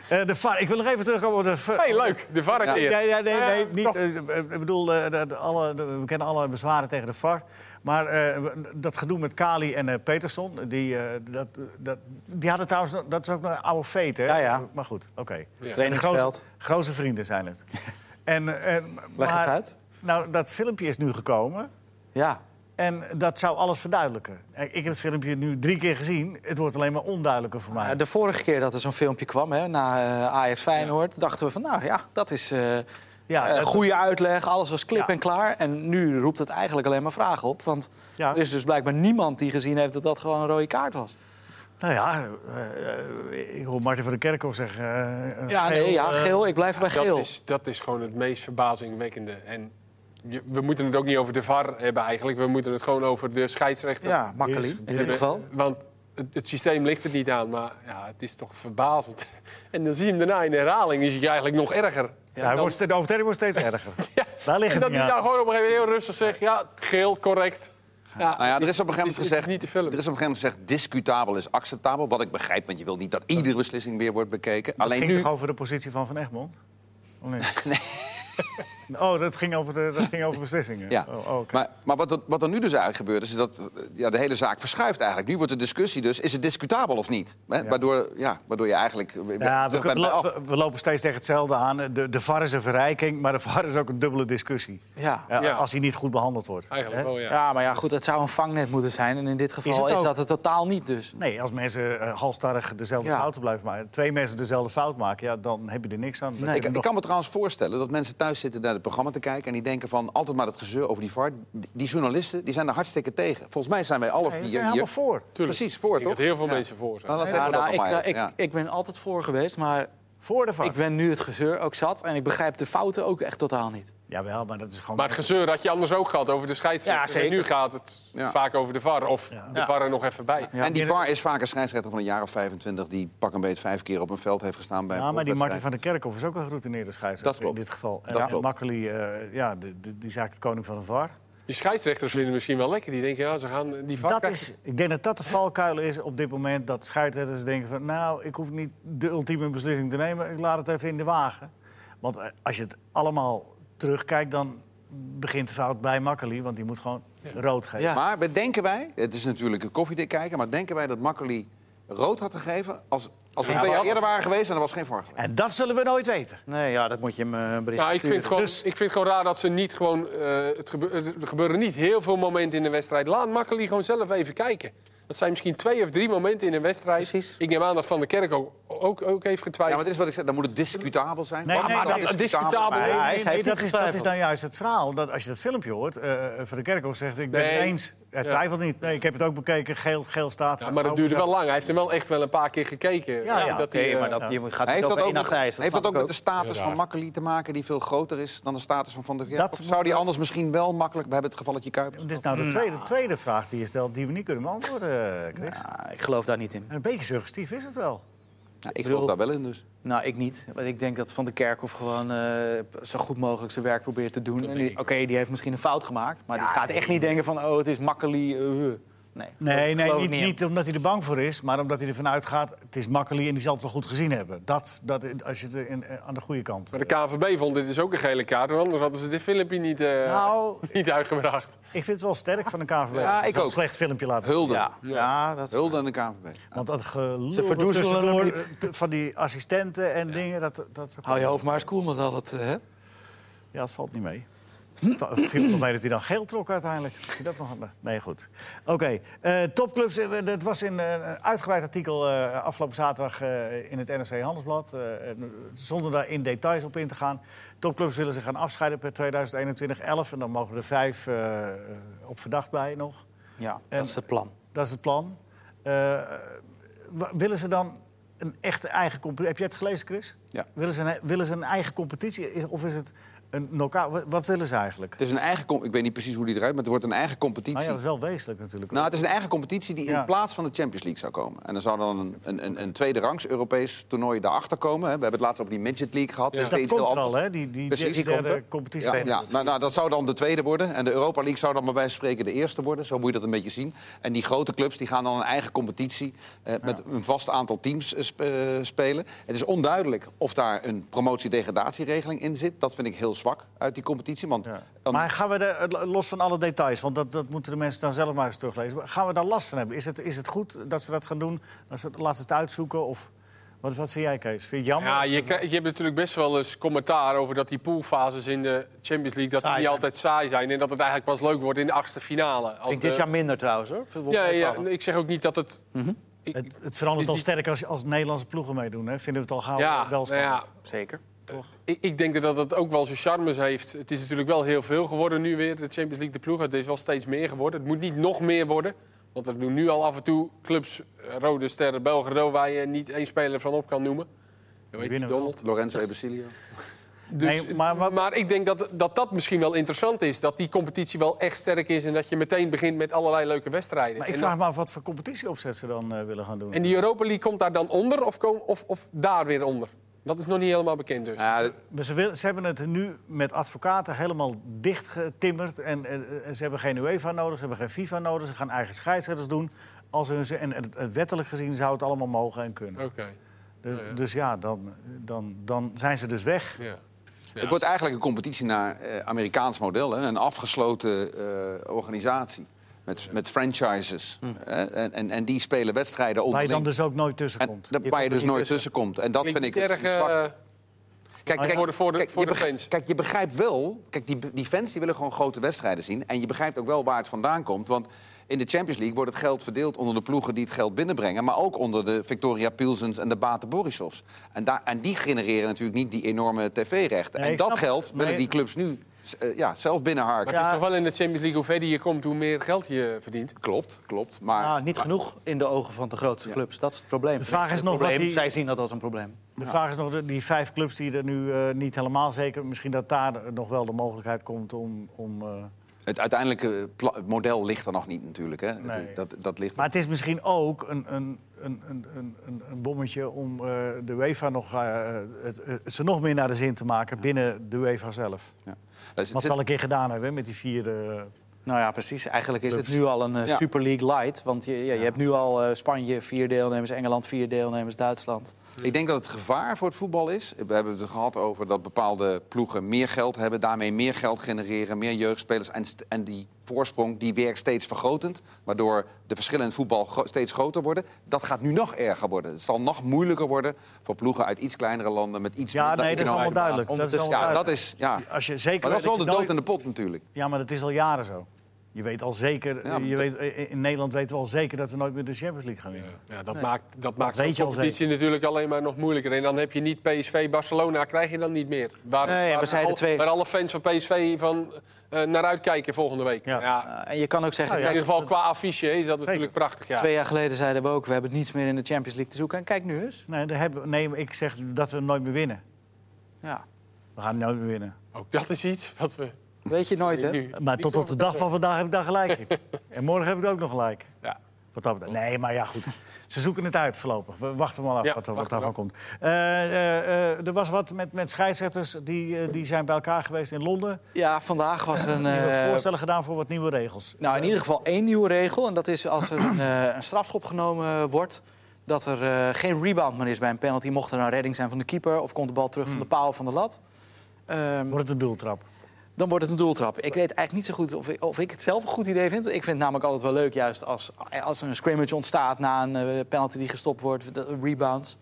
S1: Eh, de VAR. Ik wil nog even terugkomen op de... v-
S2: Hey, leuk. De VAR
S1: Ja,
S2: keer.
S1: ja, ja, nee, nee,
S2: Eh,
S1: niet.
S2: toch.
S1: eh, eh, ik bedoel, eh, de- de- alle, de- we kennen alle bezwaren tegen de VAR. Maar eh, dat gedoe met Kali en eh, Peterson, die, eh, dat, dat, die hadden trouwens... Dat is ook een oude feet, hè?
S3: Ja, ja.
S1: Maar goed, oké. De grote,
S3: trainingsveld.
S1: grote vrienden zijn het. en, eh,
S3: Leg
S1: maar-
S3: het uit.
S1: Nou, dat filmpje is nu gekomen.
S3: Ja,
S1: En dat zou alles verduidelijken. Eh, Ik heb het filmpje nu drie keer gezien. Het wordt alleen maar onduidelijker voor mij.
S3: Eh, de vorige keer dat er zo'n filmpje kwam hè, na eh, Ajax Feyenoord... dachten we van, nou ja, dat is eh
S1: Ja,
S3: eh,
S1: dat-
S3: goede uitleg. Alles was klip
S1: Ja.
S3: en klaar. En nu roept het eigenlijk alleen maar vragen op. Want
S1: Ja.
S3: er is dus blijkbaar niemand die gezien heeft dat dat gewoon een rode kaart was.
S1: Nou ja, eh, eh, ik hoor Martin van der Kerkhoff zeggen... eh, eh,
S3: Ja, nee, ja,
S1: eh,
S3: geel. Ik blijf bij geel.
S2: Dat is, dat is gewoon het meest verbazingwekkende. En je- we moeten het ook niet over de VAR hebben eigenlijk. We moeten het gewoon over de scheidsrechter
S3: Ja, makkelijk in dit
S2: hebben.
S3: geval.
S2: Want het, het systeem ligt er niet aan, maar ja, het is toch verbazend. *laughs* En dan zie je hem daarna in herhaling, is hij eigenlijk nog erger.
S1: Ja, hij wordt, ste- de overtreding wordt steeds
S2: *laughs*
S1: erger. Daar
S2: En
S1: liggen het niet
S2: dat hij
S1: aan.
S2: daar gewoon op een gegeven moment heel rustig zegt, ja, geel, correct. Ja,
S4: Nou ja, er is op een gegeven
S2: het
S4: moment gezegd...
S2: niet te filmen.
S4: Er is op een gegeven moment gezegd, discutabel is acceptabel. Wat ik begrijp, want je wil niet dat iedere beslissing weer wordt bekeken. Alleen
S1: ging
S4: nu...
S1: toch over de positie van Van Egmond? Of
S4: *laughs*
S1: niet? Oh, dat ging over, de, dat ging over beslissingen?
S4: Ja.
S1: Oh, oh, oké.
S4: Maar, maar wat, er- wat er nu dus eigenlijk gebeurt, is dat eh, ja, de hele zaak verschuift eigenlijk. Nu wordt de discussie dus, is het discutabel of niet? Hè? Waardoor, ja, waardoor je eigenlijk eh,
S1: Ja, we,
S4: terug bent bij
S1: kunnen-
S4: af.
S1: we- we lopen steeds tegen hetzelfde aan. De, de VAR is een verrijking, maar de VAR is ook een dubbele discussie.
S3: Ja.
S1: Eh,
S2: Ja.
S1: Als hij niet goed behandeld wordt.
S2: eigenlijk
S1: Hè?
S2: wel, ja.
S3: Ja, maar ja, goed, het zou een vangnet moeten zijn. En in dit geval
S1: Is
S3: is,
S1: het ook.
S3: dat het totaal niet dus.
S1: Nee, als mensen eh halstarrig dezelfde
S3: Ja.
S1: fouten blijven maken... twee mensen dezelfde fout maken, ja, dan heb je er niks aan. Dan
S3: Nee.
S1: heb
S4: Ik,
S1: je
S4: ik
S1: nog-
S4: kan me trouwens voorstellen dat mensen thuis zitten naar het programma te kijken... en die denken van altijd maar dat gezeur over die VAR. Die- Die journalisten die zijn er hartstikke tegen. Volgens mij zijn wij alle
S1: Nee, we
S4: vier
S1: zijn
S4: hier.
S1: helemaal voor.
S2: Tuurlijk.
S4: Precies, voor,
S2: Ik denk
S4: toch?
S2: dat heel veel
S4: Ja.
S2: mensen voor zijn.
S4: Nou, dan
S3: Ja,
S4: zeggen we dat
S3: nou,
S4: dan
S3: ik,
S4: maar.
S3: ik,
S4: ja.
S3: ik ben altijd voor geweest, maar
S1: Voor de VAR.
S3: ik ben nu het gezeur ook zat. En ik begrijp de fouten ook echt totaal niet.
S1: Jawel, maar dat is gewoon...
S2: Maar het gezeur had je anders ook gehad over de
S3: Ja,
S2: scheidsrechter.
S3: zeker.
S2: en nu gaat het
S4: Ja.
S2: vaak over de VAR of
S1: Ja.
S2: de VAR er nog even bij.
S4: En die VAR is vaak een scheidsrechter van een jaar of 25... die pak een beet vijf keer op een veld heeft gestaan bij
S1: Ja,
S4: een
S1: maar die Martin
S4: profwedstrijd.
S1: van der Kerkhoff is ook een geroutineerde scheidsrechter in
S4: Dat klopt.
S1: dit geval. En,
S4: Dat
S1: en
S4: klopt.
S1: Makkely, eh, ja, die, die is eigenlijk de koning van de VAR.
S2: Die scheidsrechters vinden het misschien wel lekker. Die denken, ja, ze gaan die vak
S1: Dat
S2: krijgen.
S1: is, ik denk dat dat de valkuil is op dit moment. Dat scheidsrechters denken van... nou, ik hoef niet de ultieme beslissing te nemen. Ik laat het even in de wagen. Want eh, als je het allemaal terugkijkt... dan begint de fout bij Makkeli. Want die moet gewoon rood geven.
S3: Ja.
S4: Maar we- denken wij, het is natuurlijk een koffiedik kijken... maar denken wij dat Makkeli rood had gegeven... als, als we
S2: Ja,
S4: twee jaar
S2: had-
S4: eerder waren geweest en er was geen voor geweest?
S1: En dat zullen we nooit weten.
S3: Nee, ja, dat moet je hem eh, een bericht
S2: Nou, ik
S3: sturen.
S2: vind, gewoon,
S1: Dus-
S2: ik vind het gewoon raar dat ze niet gewoon... eh, het gebe- er gebeuren niet heel veel momenten in de wedstrijd. Laat Makkeli gewoon zelf even kijken. Dat zijn misschien twee of drie momenten in een wedstrijd.
S3: Precies.
S2: Ik neem aan dat Van der Kerk ook, ook, ook heeft
S4: Ja,
S2: getwijfeld.
S4: maar dit is wat ik zeg, dan moet het discutabel zijn.
S1: Nee,
S4: Maar-
S1: nee,
S4: maar
S1: dat-
S2: dat is discutabel.
S4: maar-
S3: Ja, hij heeft niet
S1: dat, is, dat is
S3: getwijfeld.
S1: nou juist het verhaal. Dat als je dat filmpje hoort, eh, Van de Kerkhoff zegt... ik ben
S2: Nee.
S1: het eens. Hij
S2: Ja.
S1: twijfelt niet. Nee, ik heb het ook bekeken. Geel, geel staat. Oh,
S2: Ja, maar dat duurde wel lang. Hij heeft hem wel echt wel een paar keer gekeken.
S1: Ja, ja,
S2: dat hij,
S3: Oké,
S2: eh,
S3: maar dat, je gaat
S4: Heeft
S3: niet over
S4: dat ook,
S3: één
S4: met,
S3: nacht ijs. dat
S4: heeft dat
S3: snap
S4: ook
S3: ik
S4: met de status
S2: Ja.
S4: van Makkeli te maken... die veel groter is dan de status van Van der Kerk?
S1: Dat
S4: Of
S1: moet-
S4: Zou die anders misschien wel makkelijk... we hebben het gevalletje Kuipers.
S1: Dit is nou de tweede, tweede vraag die je stelt... die we niet kunnen beantwoorden, eh, Chris.
S3: Ah, ik geloof daar niet in.
S1: Een beetje suggestief is het wel.
S4: Nou, ik geloof
S3: bedoel-
S4: daar wel in dus.
S3: Nou, ik niet. Want ik denk dat Van der Kerkhoff gewoon eh, zo goed mogelijk zijn werk probeert te doen. En die- Oké, die heeft misschien een fout gemaakt. Maar die gaat echt niet denken van, oh, het is makkelijk. nee,
S1: Nee, nee
S3: Ik geloof
S1: niet,
S3: het
S1: niet,
S3: in.
S1: omdat hij er bang voor is, maar omdat hij ervan uitgaat... het is makkelijk en die zal het wel goed gezien hebben. Dat, dat als je het er in- eh, aan de goede kant...
S2: Maar de KNVB vond dit is ook een gele kaart. Want anders hadden ze dit filmpje niet, eh,
S1: Nou,
S2: *laughs* niet uitgebracht.
S1: ik vind het wel sterk van de KVB.
S4: Ja, ik ook.
S1: Een slecht filmpje laten zien.
S4: Hulde.
S3: Ja, ja, dat is...
S4: Hulde aan de KNVB.
S1: Want dat gelul
S3: Ze verdoezelen
S1: tussendoor,
S3: hem niet. Oh,
S1: eh, te- van die assistenten en dingen, dat, dat,
S3: Hou je hoofd maar eens koel met al het... eh, hè?
S1: ja, dat valt niet mee. Het va- Het viel wel mee dat hij dan geel trok uiteindelijk. Heb je Dat nog... Nee, goed. Oké, eh, topclubs. eh, Dat was in eh, een uitgebreid artikel eh, afgelopen zaterdag eh, in het NRC Handelsblad. eh, en zonder daar in details op in te gaan. Topclubs willen zich gaan afscheiden per 2021 11 En dan mogen er vijf eh, op verdacht bij nog.
S3: Ja, dat is het plan.
S1: Dat is het plan. Eh, wa- willen ze dan een echte eigen competitie? Heb jij het gelezen, Chris?
S4: Ja.
S1: Willen ze een, willen ze een eigen competitie? Is- Of is het een knock-out? Wa- Wat willen ze eigenlijk?
S4: Het is een eigen... com- Ik weet niet precies hoe die eruit... maar het wordt een eigen competitie.
S1: Nou ja, dat is wel wezenlijk natuurlijk.
S4: Nou, het is een eigen competitie die
S1: Ja.
S4: in plaats van de Champions League zou komen. En er zou dan een, een, een, een tweede rangs Europees toernooi daarachter komen. hè. We hebben het laatst over die Midget League gehad. Dus
S1: dat
S4: iets
S1: komt
S4: heel
S1: er al,
S4: anders.
S1: hè? Die, die,
S4: Precies, die
S1: derde
S4: komt er.
S1: competitie.
S4: Ja, ja. Nou, nou, dat zou dan de tweede worden. En de Europa League zou dan bij wijze van spreken de eerste worden. Zo moet je dat een beetje zien. En die grote clubs die gaan dan een eigen competitie eh, met een vast aantal teams eh, sp- eh, spelen. Het is onduidelijk of daar een promotie-degradatieregeling in zit. Dat vind ik heel zwak uit die competitie. Want
S1: Ja.
S4: dan-
S1: Maar gaan we er, los van alle details, want dat, dat moeten de mensen dan zelf maar eens teruglezen. Maar Gaan we daar last van hebben? Is het, is het goed dat ze dat gaan doen? Dat ze, laat ze het uitzoeken? Of, wat, wat vind jij, Kees? Vind je het jammer?
S2: Ja, je, krijgt- je hebt natuurlijk best wel eens commentaar over dat die poolfases in de Champions League... dat die
S3: Saai
S2: niet
S3: zijn.
S2: altijd saai zijn. En dat het eigenlijk pas leuk wordt in de achtste finale. Als
S3: Vind ik dit
S2: de-
S3: jaar Mhm. minder trouwens, hoor.
S2: Ja, ja, ik zeg ook niet dat het... Ik-
S1: Het, het verandert
S2: Is
S1: al
S2: niet-
S1: sterk als, als Nederlandse ploegen meedoen. Hè? Vinden we het al gauw
S2: Ja,
S3: Oh,
S1: eh, wel
S2: nou
S1: spannend.
S2: ja.
S3: Zeker.
S2: Ik, ik denk dat dat ook wel zijn charmes heeft. Het is natuurlijk wel heel veel geworden nu weer, de Champions League, de ploeg. Het is wel steeds meer geworden. Het moet niet nog meer worden. Want er doen nu al af en toe clubs, eh, Rode Sterren, Belgrado, waar je niet één speler van op kan noemen. Hoe heet die,
S1: winnen wel.
S2: Donald?
S4: Lorenzo Ebesilio.
S2: Dus,
S1: Nee, maar wat-
S2: maar ik denk dat, dat dat misschien wel interessant is. Dat die competitie wel echt sterk is en dat je meteen begint met allerlei leuke wedstrijden.
S1: Maar ik
S2: En
S1: vraag
S2: dat-
S1: me af wat voor competitieopzet ze dan eh, willen gaan doen.
S2: en die Europa League komt daar dan onder of, kom- of, of daar weer onder? Dat is nog niet helemaal bekend dus.
S4: Ja, dat-
S1: Maar ze, wil- ze hebben het nu met advocaten helemaal dicht getimmerd. En eh, eh, ze hebben geen UEFA nodig, ze hebben geen FIFA nodig. Ze gaan eigen scheidsrechters doen. Als hun ze, en het- het wettelijk gezien zou het allemaal mogen en kunnen.
S2: Oké.
S1: Dus
S2: ja.
S1: dus ja, dan, dan, dan zijn ze dus weg.
S2: Ja.
S4: Het wordt eigenlijk een competitie naar eh, Amerikaans model. Hè? Een afgesloten eh, organisatie met, met franchises. Eh, en, en, en die spelen wedstrijden
S1: Hm. Waar je
S4: onderling.
S1: dan dus ook nooit tussen
S4: en,
S1: komt.
S4: dat-
S3: Je
S4: waar je
S3: komt
S4: dus
S3: er niet
S4: nooit tussen komt. En dat vind ik
S2: Klinkt
S4: het
S2: erg,
S4: is zwak.
S2: eh,
S4: Kijk,
S2: voor de- voor de- voor
S4: je
S2: de
S4: begrijpt-
S2: fans.
S4: Kijk, je begrijpt wel... Kijk, die, die fans die willen gewoon grote wedstrijden zien. En je begrijpt ook wel waar het vandaan komt. Want in de Champions League wordt het geld verdeeld onder de ploegen die het geld binnenbrengen. Maar ook onder de Victoria Pilsens en de Bate Borisovs. En, daar, en die genereren natuurlijk niet die enorme tv-rechten.
S1: Nee,
S4: en
S1: ik
S4: dat
S1: snap-
S4: geld willen
S1: nee.
S4: die clubs nu eh, ja, zelf
S2: Maar
S4: binnenharken.
S2: het
S1: Ja.
S2: is toch wel in de Champions League, hoe verder je komt, hoe meer geld je verdient.
S4: Klopt, klopt. Maar
S3: Nou, niet genoeg in de ogen van de grootste clubs. Dat is het probleem.
S1: De vraag is
S3: Het
S1: nog wat
S3: probleem,
S1: die-
S3: Zij zien dat als een probleem.
S1: De vraag is nog, de- die vijf clubs die er nu eh, niet helemaal zeker... misschien dat daar nog wel de mogelijkheid komt om... om eh,
S4: het uiteindelijke pla- het model ligt er nog niet natuurlijk. Hè?
S1: Nee.
S4: Dat, dat ligt
S1: Maar het is misschien ook een, een, een, een, een- een, een bommetje om eh, de UEFA nog, eh, het, het ze nog meer naar de zin te maken binnen de UEFA zelf.
S4: Ja. Er zit-
S1: Wat ze al een keer gedaan hebben hè, met die vier. eh,
S3: Nou ja, precies. Eigenlijk is het
S1: Clubs.
S3: nu al een eh,
S4: Ja.
S3: Super League light. Want je, ja, je hebt nu al eh, Spanje vier deelnemers, Engeland vier deelnemers, Duitsland.
S4: Ik denk dat het gevaar voor het voetbal is. We hebben het gehad over dat bepaalde ploegen meer geld hebben, daarmee meer geld genereren, meer jeugdspelers. En, st- en die voorsprong die werkt steeds vergrotend, waardoor de verschillen in het voetbal gro- steeds groter worden. Dat gaat nu nog erger worden. Het zal nog moeilijker worden voor ploegen uit iets kleinere landen met iets
S1: Ja,
S4: minder
S1: nee, dat is allemaal
S4: economische
S1: duidelijk. Dat is
S4: basis.
S1: allemaal
S4: Ja, dat
S1: duidelijk.
S4: is. Ja.
S1: eh, Als je zeker
S4: Maar dat is
S1: weet
S4: wel
S1: je
S4: de dood
S1: nooit-
S4: in de pot natuurlijk.
S1: Ja, maar dat is al jaren zo. Je weet al zeker,
S4: Ja, maar
S1: je weet, eh, in Nederland weten we al zeker dat we nooit meer de Champions League gaan winnen.
S2: Ja, dat maakt, dat maakt
S1: weet
S2: zo'n
S1: je al
S2: competitie natuurlijk alleen maar nog moeilijker. En dan heb je niet PSV, Barcelona krijg je dan niet meer. Waar,
S3: Nee, we
S2: waar,
S3: zeiden
S2: al-
S3: twee-
S2: waar alle fans van PSV van, eh, naar uitkijken volgende week.
S1: Ja.
S2: Ja.
S3: Eh, en je kan ook zeggen,
S1: Nou
S2: In
S1: ja,
S3: kijk,
S2: ieder geval qua affiche is dat natuurlijk prachtig. Ja.
S3: twee jaar geleden zeiden we ook... we hebben niets meer in de Champions League te zoeken. En kijk nu eens.
S1: Nee, daar hebben, nee, maar ik zeg dat we nooit meer winnen.
S3: Ja.
S1: We gaan nooit meer winnen.
S2: Ook dat is iets wat we
S3: Weet je nooit, hè?
S2: nu...
S1: Maar tot op de dag van vandaag heb ik daar gelijk
S4: *laughs*
S1: in. En morgen heb ik ook nog gelijk.
S2: Ja.
S1: Wat dat betreft. Nee, maar ja, goed. Ze zoeken het uit voorlopig. We wachten maar af
S2: Ja,
S1: wat, er- wat
S2: wachten
S1: daarvan
S2: we
S1: komt. Eh, eh, eh, er was wat met, met scheidsrechters. Die, eh, die zijn bij elkaar geweest in Londen.
S3: Ja, vandaag was er
S1: *laughs*
S3: een...
S1: Die hebben
S3: eh,
S1: voorstellen gedaan voor wat nieuwe regels.
S3: nou, in ieder geval één nieuwe regel. En dat is als er een, eh, een strafschop genomen wordt... dat er eh, geen rebound meer is bij een penalty. Mocht er een redding zijn van de keeper... of komt de bal terug van
S4: Hmm.
S3: de paal of van de lat... Ehm,
S1: Wordt het een doeltrap?
S3: dan wordt het een doeltrap. Ik weet eigenlijk niet zo goed of ik, of ik het zelf een goed idee vind. Ik vind het namelijk altijd wel leuk, juist als, als er een scrimmage ontstaat na een eh, penalty die gestopt wordt, de- rebounds.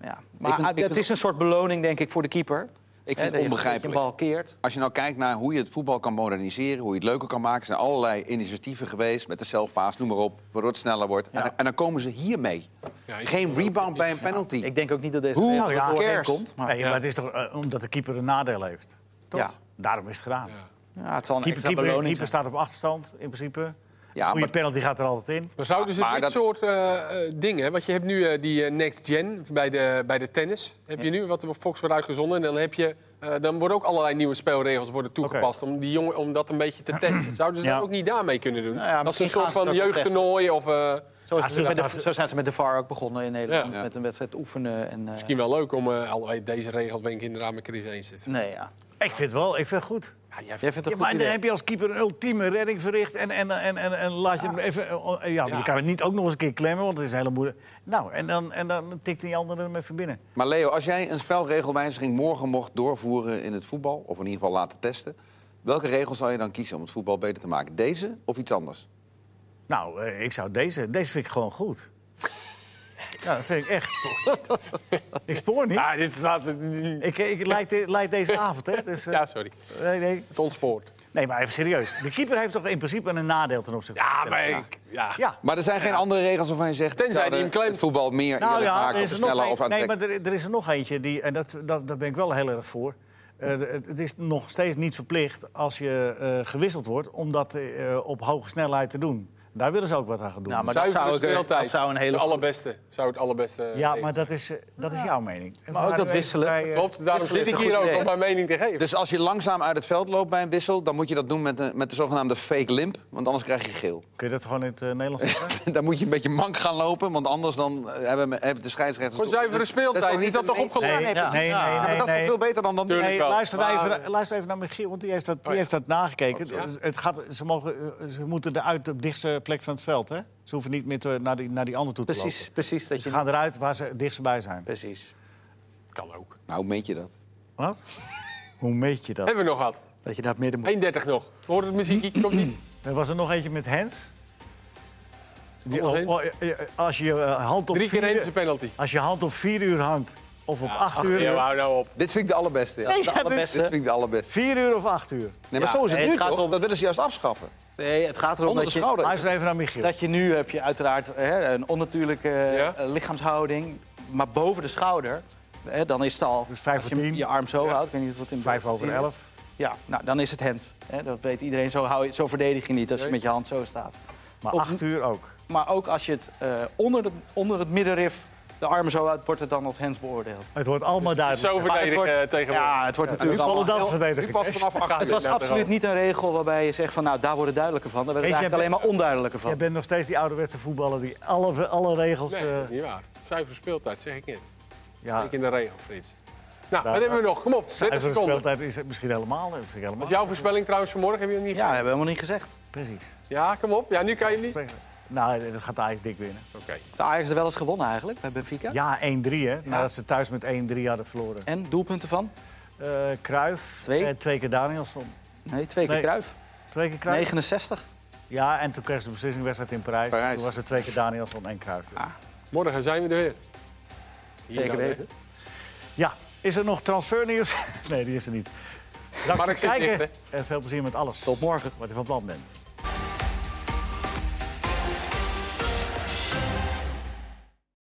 S3: Ja. Maar
S4: Ik vind-
S3: ah,
S4: ik
S3: het
S4: vind-
S3: is een soort beloning, denk ik, voor de keeper.
S4: Ik
S3: Hè, dat
S4: vind het
S3: je- Dat je een
S4: onbegrijpelijk.
S3: bal keert.
S4: Als je nou kijkt naar hoe je het voetbal kan moderniseren, hoe je het leuker kan maken, zijn allerlei initiatieven geweest met de selfpaas, noem maar op, waardoor het sneller wordt. En, dan, en dan komen ze hiermee.
S2: Ja, ik-
S4: Geen rebound bij een penalty.
S3: Ik denk ook niet dat deze
S4: Hoe
S3: regel er
S1: cares?
S3: doorheen komt. Maar,
S1: Nou nee, maar het is toch eh, omdat de keeper een nadeel heeft? Toch?
S3: Ja.
S1: Daarom is het gedaan.
S3: ja, het zal een
S1: Keeper,
S3: extra
S1: keeper,
S3: beloning
S1: keeper
S3: zijn.
S1: staat op achterstand in principe.
S4: Ja,
S1: Goede
S4: maar-
S1: penalty gaat er altijd in.
S2: Maar zouden ze
S4: Maar
S2: dit
S4: dat-
S2: soort eh, eh, dingen... Want je hebt nu eh, die eh, Next Gen bij de, bij de tennis. Heb je nu wat op Fox wordt uitgezonden. En dan, heb je, eh, dan worden ook allerlei nieuwe spelregels worden toegepast... Om, die jongen, om dat een beetje te testen. Zouden ze
S1: Ja.
S2: dat ook niet daarmee kunnen doen?
S3: ja,
S2: Als
S3: misschien
S2: een soort
S3: gaan ze het
S2: van
S3: ook wel testen.
S2: jeugdtoernooi of... eh,
S3: Zo, is
S1: Ah,
S3: het
S1: ze-
S3: met de-
S1: dat-
S3: zo zijn ze met de VAR ook begonnen in Nederland.
S2: Ja.
S3: Met een wedstrijd oefenen. En, eh,
S2: Misschien wel leuk om... eh, alweer deze regel ben ik inderdaad met Chris eens. Dus-
S3: nee, ja.
S1: Ik vind het wel, ik vind het goed.
S2: Ja, jij
S3: Jij vindt het
S1: Ja,
S3: een goed
S1: maar dan
S3: idee.
S1: heb je als keeper een ultieme redding verricht. En, en, en, en, en laat je hem even. eh, eh, Ja, Je kan het niet ook nog eens een keer klemmen, want het is een hele moeilijk. Nou, en dan, en dan tikt die andere hem even binnen.
S4: Maar Leo, als jij een spelregelwijziging morgen mocht doorvoeren in het voetbal, of in ieder geval laten testen, welke regel zou je dan kiezen om het voetbal beter te maken? Deze of iets anders?
S1: Nou, eh, ik zou deze. Deze vind ik gewoon goed. Ja, dat vind ik echt. ik spoor niet.
S2: Ja, Ah, dit staat...
S1: Ik, ik leid, de- leid deze avond, hè? Dus, eh,
S2: Ja, sorry.
S1: nee, nee.
S2: Het ontspoort.
S1: nee, maar even serieus. De keeper heeft toch in principe een nadeel ten opzichte van.
S2: Ja,
S1: de
S2: maar
S1: keeper?
S2: ik... Ja.
S1: Ja. Nou
S4: Maar er zijn geen andere regels waarvan je zegt,
S2: Tenzij
S4: zouden
S2: die hem claimt.
S4: het voetbal meer eerlijk maken of sneller
S1: een-
S4: of aantrekkelijk.
S1: nee, maar er, er is er nog eentje, die, en dat, dat, daar ben ik wel heel erg voor. Eh, het, het is nog steeds niet verplicht als je eh, gewisseld wordt... om dat eh, op hoge snelheid te doen. Daar willen ze ook wat aan gaan doen.
S3: Nou, maar dat
S2: Zuivere
S3: zou, ik,
S2: speeltijd.
S3: dat zou een hele
S2: Het allerbeste. Zou het allerbeste...
S1: ja,
S2: regelen.
S1: maar dat is, eh, dat is jouw mening.
S3: Maar ook dat wisselen.
S1: bij, eh,
S2: Klopt, daarom
S3: Wisselen
S2: zit
S3: is
S2: ik
S3: een
S2: hier
S3: goed
S2: ook
S3: idee.
S2: om mijn mening te geven.
S4: Dus als je langzaam uit het veld loopt bij een wissel, dan moet je dat doen met de, met de zogenaamde fake limp, want anders krijg je geel.
S1: Kun je dat gewoon in het eh, Nederlands zeggen?
S4: *laughs* dan moet je een beetje mank gaan lopen, want anders dan eh, hebben, me- hebben de scheidsrechters...
S2: Gewoon
S3: dus-
S2: zuivere speeltijd.
S4: toch
S2: Is
S4: niet
S2: dat
S4: een
S2: toch
S4: re-
S2: opgelost?
S1: Nee,
S3: precies.
S1: nee,
S3: Ja,
S1: nee,
S4: Maar
S1: nee,
S4: dat is
S1: nee.
S4: toch veel beter dan... dan
S2: Tuurlijk
S1: Nee,
S2: wel.
S1: luister, nou
S2: Maar-
S1: even, luister even naar Michiel, want die heeft dat,
S3: Oh
S1: die heeft dat nagekeken. Dus het gaat, ze, mogen, eh, ze moeten eruit op de dichtste plek van het veld. Hè? Ze hoeven niet meer te- naar, die, naar die andere toe te lopen.
S3: Precies, precies. Dat
S1: Dus Ze
S3: je,
S1: gaan eruit waar ze het dichtst bij zijn.
S3: precies.
S2: Kan ook.
S4: Nou, meet je dat?
S1: Wat? *laughs* Hoe meet je dat?
S2: Hebben we nog wat?
S3: Dat je daar het midden moet.
S2: 31 nog. Hoort het muziekje? Komt
S1: *clears throat*
S2: niet.
S1: Er was er nog eentje met Hens. Die,
S2: Alles Hens?
S1: oh, oh, eh, eh, als, je, eh, hand op
S2: Drie keer
S1: vier-
S2: één is een penalty.
S1: als je hand op vier uur hangt, of op acht, uur. *laughs*
S2: Ja, hou nou op.
S4: Dit vind ik de allerbeste. ja.
S1: Ja, dat is-
S4: Dit vind ik de allerbeste.
S1: Vier uur of acht uur.
S4: Nee, maar
S3: Ja,
S4: zo is het
S3: nee, het
S4: nu
S3: gaat
S4: toch?
S3: om-
S4: Dat willen ze juist afschaffen.
S3: Nee, het gaat erom
S4: Onder de
S3: dat je,
S4: schouder.
S1: Luister even naar Michiel.
S3: dat je nu heb je uiteraard hè, een onnatuurlijke eh,
S2: Ja.
S3: eh, lichaamshouding. Maar boven de schouder, hè, dan is het al...
S1: Dus vijf
S3: als
S1: voor
S3: je
S1: tien.
S3: je arm zo houdt, ik weet niet of dat in
S1: Vijf
S3: beeld te
S1: over
S3: zien is.
S1: elf.
S3: Ja, nou, dan is het hand. Hè, dat weet iedereen, zo, hou je, zo verdedig je niet als je
S2: Nee.
S3: met je hand zo staat.
S1: Maar
S3: Op-
S1: acht uur ook.
S3: Maar ook als je het eh, onder, het onder het middenrif de armen zo houdt, wordt het dan als hands beoordeeld.
S1: Het wordt allemaal duidelijk.
S2: Zo
S3: Maar het
S2: verdedig
S3: wordt-
S2: eh, tegenwoordig.
S3: Ja, het wordt
S1: Nu
S3: natuurlijk allemaal...
S1: vallen dan
S4: Nu
S1: verdediging.
S4: pas
S3: *laughs*
S4: vanaf achter.
S3: Het was
S2: Nou, toch
S3: absoluut
S2: al.
S3: niet een regel waarbij je zegt van nou, daar wordt het duidelijker van. Daar werd het
S1: Weet je,
S3: eigenlijk alleen maar onduidelijker
S1: Jij
S3: van.
S1: bent nog steeds die ouderwetse voetballer die alle, alle regels...
S2: Nee,
S1: eh,
S2: dat is niet waar. Zuivere speeltijd, zeg ik niet.
S1: ja,
S2: Steek in de regel, Frits.
S1: Nou,
S2: Nou, wat hebben we nog? Kom op, 30
S1: zuivere
S2: seconden.
S1: speeltijd is het misschien helemaal. eh, Vind ik helemaal.
S2: Wat is jouw voorspelling trouwens vanmorgen? Heb je hem niet
S3: Ja, dat hebben we helemaal niet gezegd.
S1: Precies.
S2: Ja, kom op. Ja, nu kan je niet. Oké.
S1: Nou, dat gaat Ajax dik winnen.
S3: Heeft Ajax er wel eens gewonnen eigenlijk bij Benfica?
S1: Ja, 1-3 hè. Nadat ze thuis met 1-3 hadden verloren.
S3: En doelpunten van?
S1: Eh Kruif.
S3: Twee.
S1: twee keer Danielson.
S3: Nee, twee keer
S1: Nee.
S3: Kruif.
S1: Twee keer Kruif.
S3: 69.
S1: Ja, en toen kreeg ze de beslissingswedstrijd in Parijs.
S4: Parijs.
S1: Toen was het twee keer Danielson en Kruif.
S2: Morgen zijn we er weer. Hier
S3: Zeker
S2: dan, hè.
S3: weten.
S1: Ja, is er nog transfernieuws? *laughs* nee, die is er niet. Dank
S2: Maar
S1: voor
S2: ik
S1: het
S2: zit
S1: kijken
S2: dicht,
S1: en veel plezier met alles
S3: Tot morgen.
S1: wat je van plan bent.